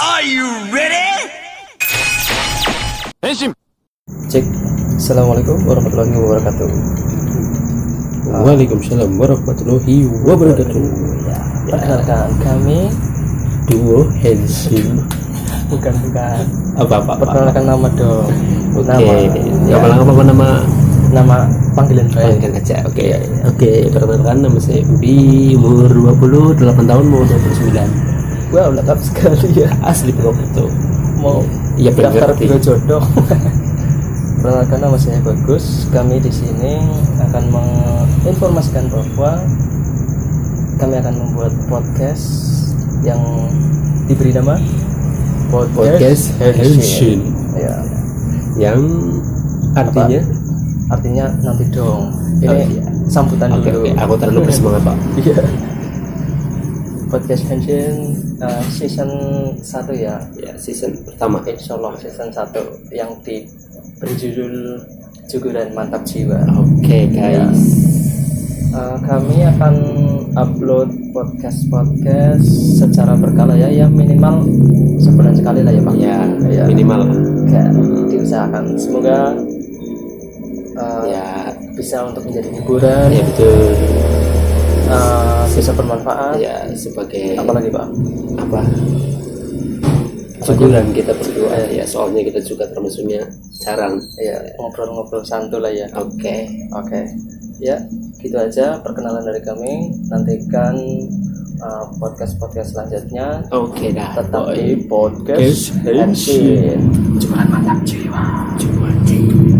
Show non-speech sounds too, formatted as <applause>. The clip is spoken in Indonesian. Are you ready? Cek. Assalamualaikum warahmatullahi wabarakatuh. Ah. Waalaikumsalam warahmatullahi wabarakatuh. Ya, perkenalkan kami Duo handsome bukan bukan. apa apa apa. Perkenalkan nama dong. Nama. Oke, Ya, nama lengkap apa nama nama panggilan saya. panggilan kerja. Oke, oke. Perkenalkan nama saya Budi, umur 28 tahun mau 29. Wow, lengkap sekali ya. Asli bro itu. Mau Iya, daftar berarti. biro jodoh. <laughs> Perkenalkan nama saya Bagus. Kami di sini akan menginformasikan bahwa kami akan membuat podcast yang diberi nama Podcast Handshake. handsome Ya, yang artinya artinya nanti dong. Ini Oh, iya. sambutan Oke dulu. oke, aku terlalu bersemangat pak. <laughs> Iya. Podcast Henshin eh, season 1 ya. Ya season pertama. Insyaallah season 1 yang di berjudul Juguran Mantap Jiwa. Oke guys. Eh, kami akan upload podcast-podcast secara berkala ya, ya minimal sebulan sekali lah ya, Bang. Ya, Iya. minimal. Ya, diusahakan. Semoga eh, Ya, bisa untuk menjadi hiburan, ya betul. eh, bisa bermanfaat. Ya sebagai Apalagi, Pak? apa jugulan kita berdua ya soalnya kita juga termasuknya jarang Iya, ngobrol-ngobrol santuy lah ya. oke Oke, ya gitu aja perkenalan dari kami. Nantikan uh, podcast-podcast selanjutnya oke dah tetap di podcast Podcast Handshake. Handshake. cuman mantap jiwa cuman jiwa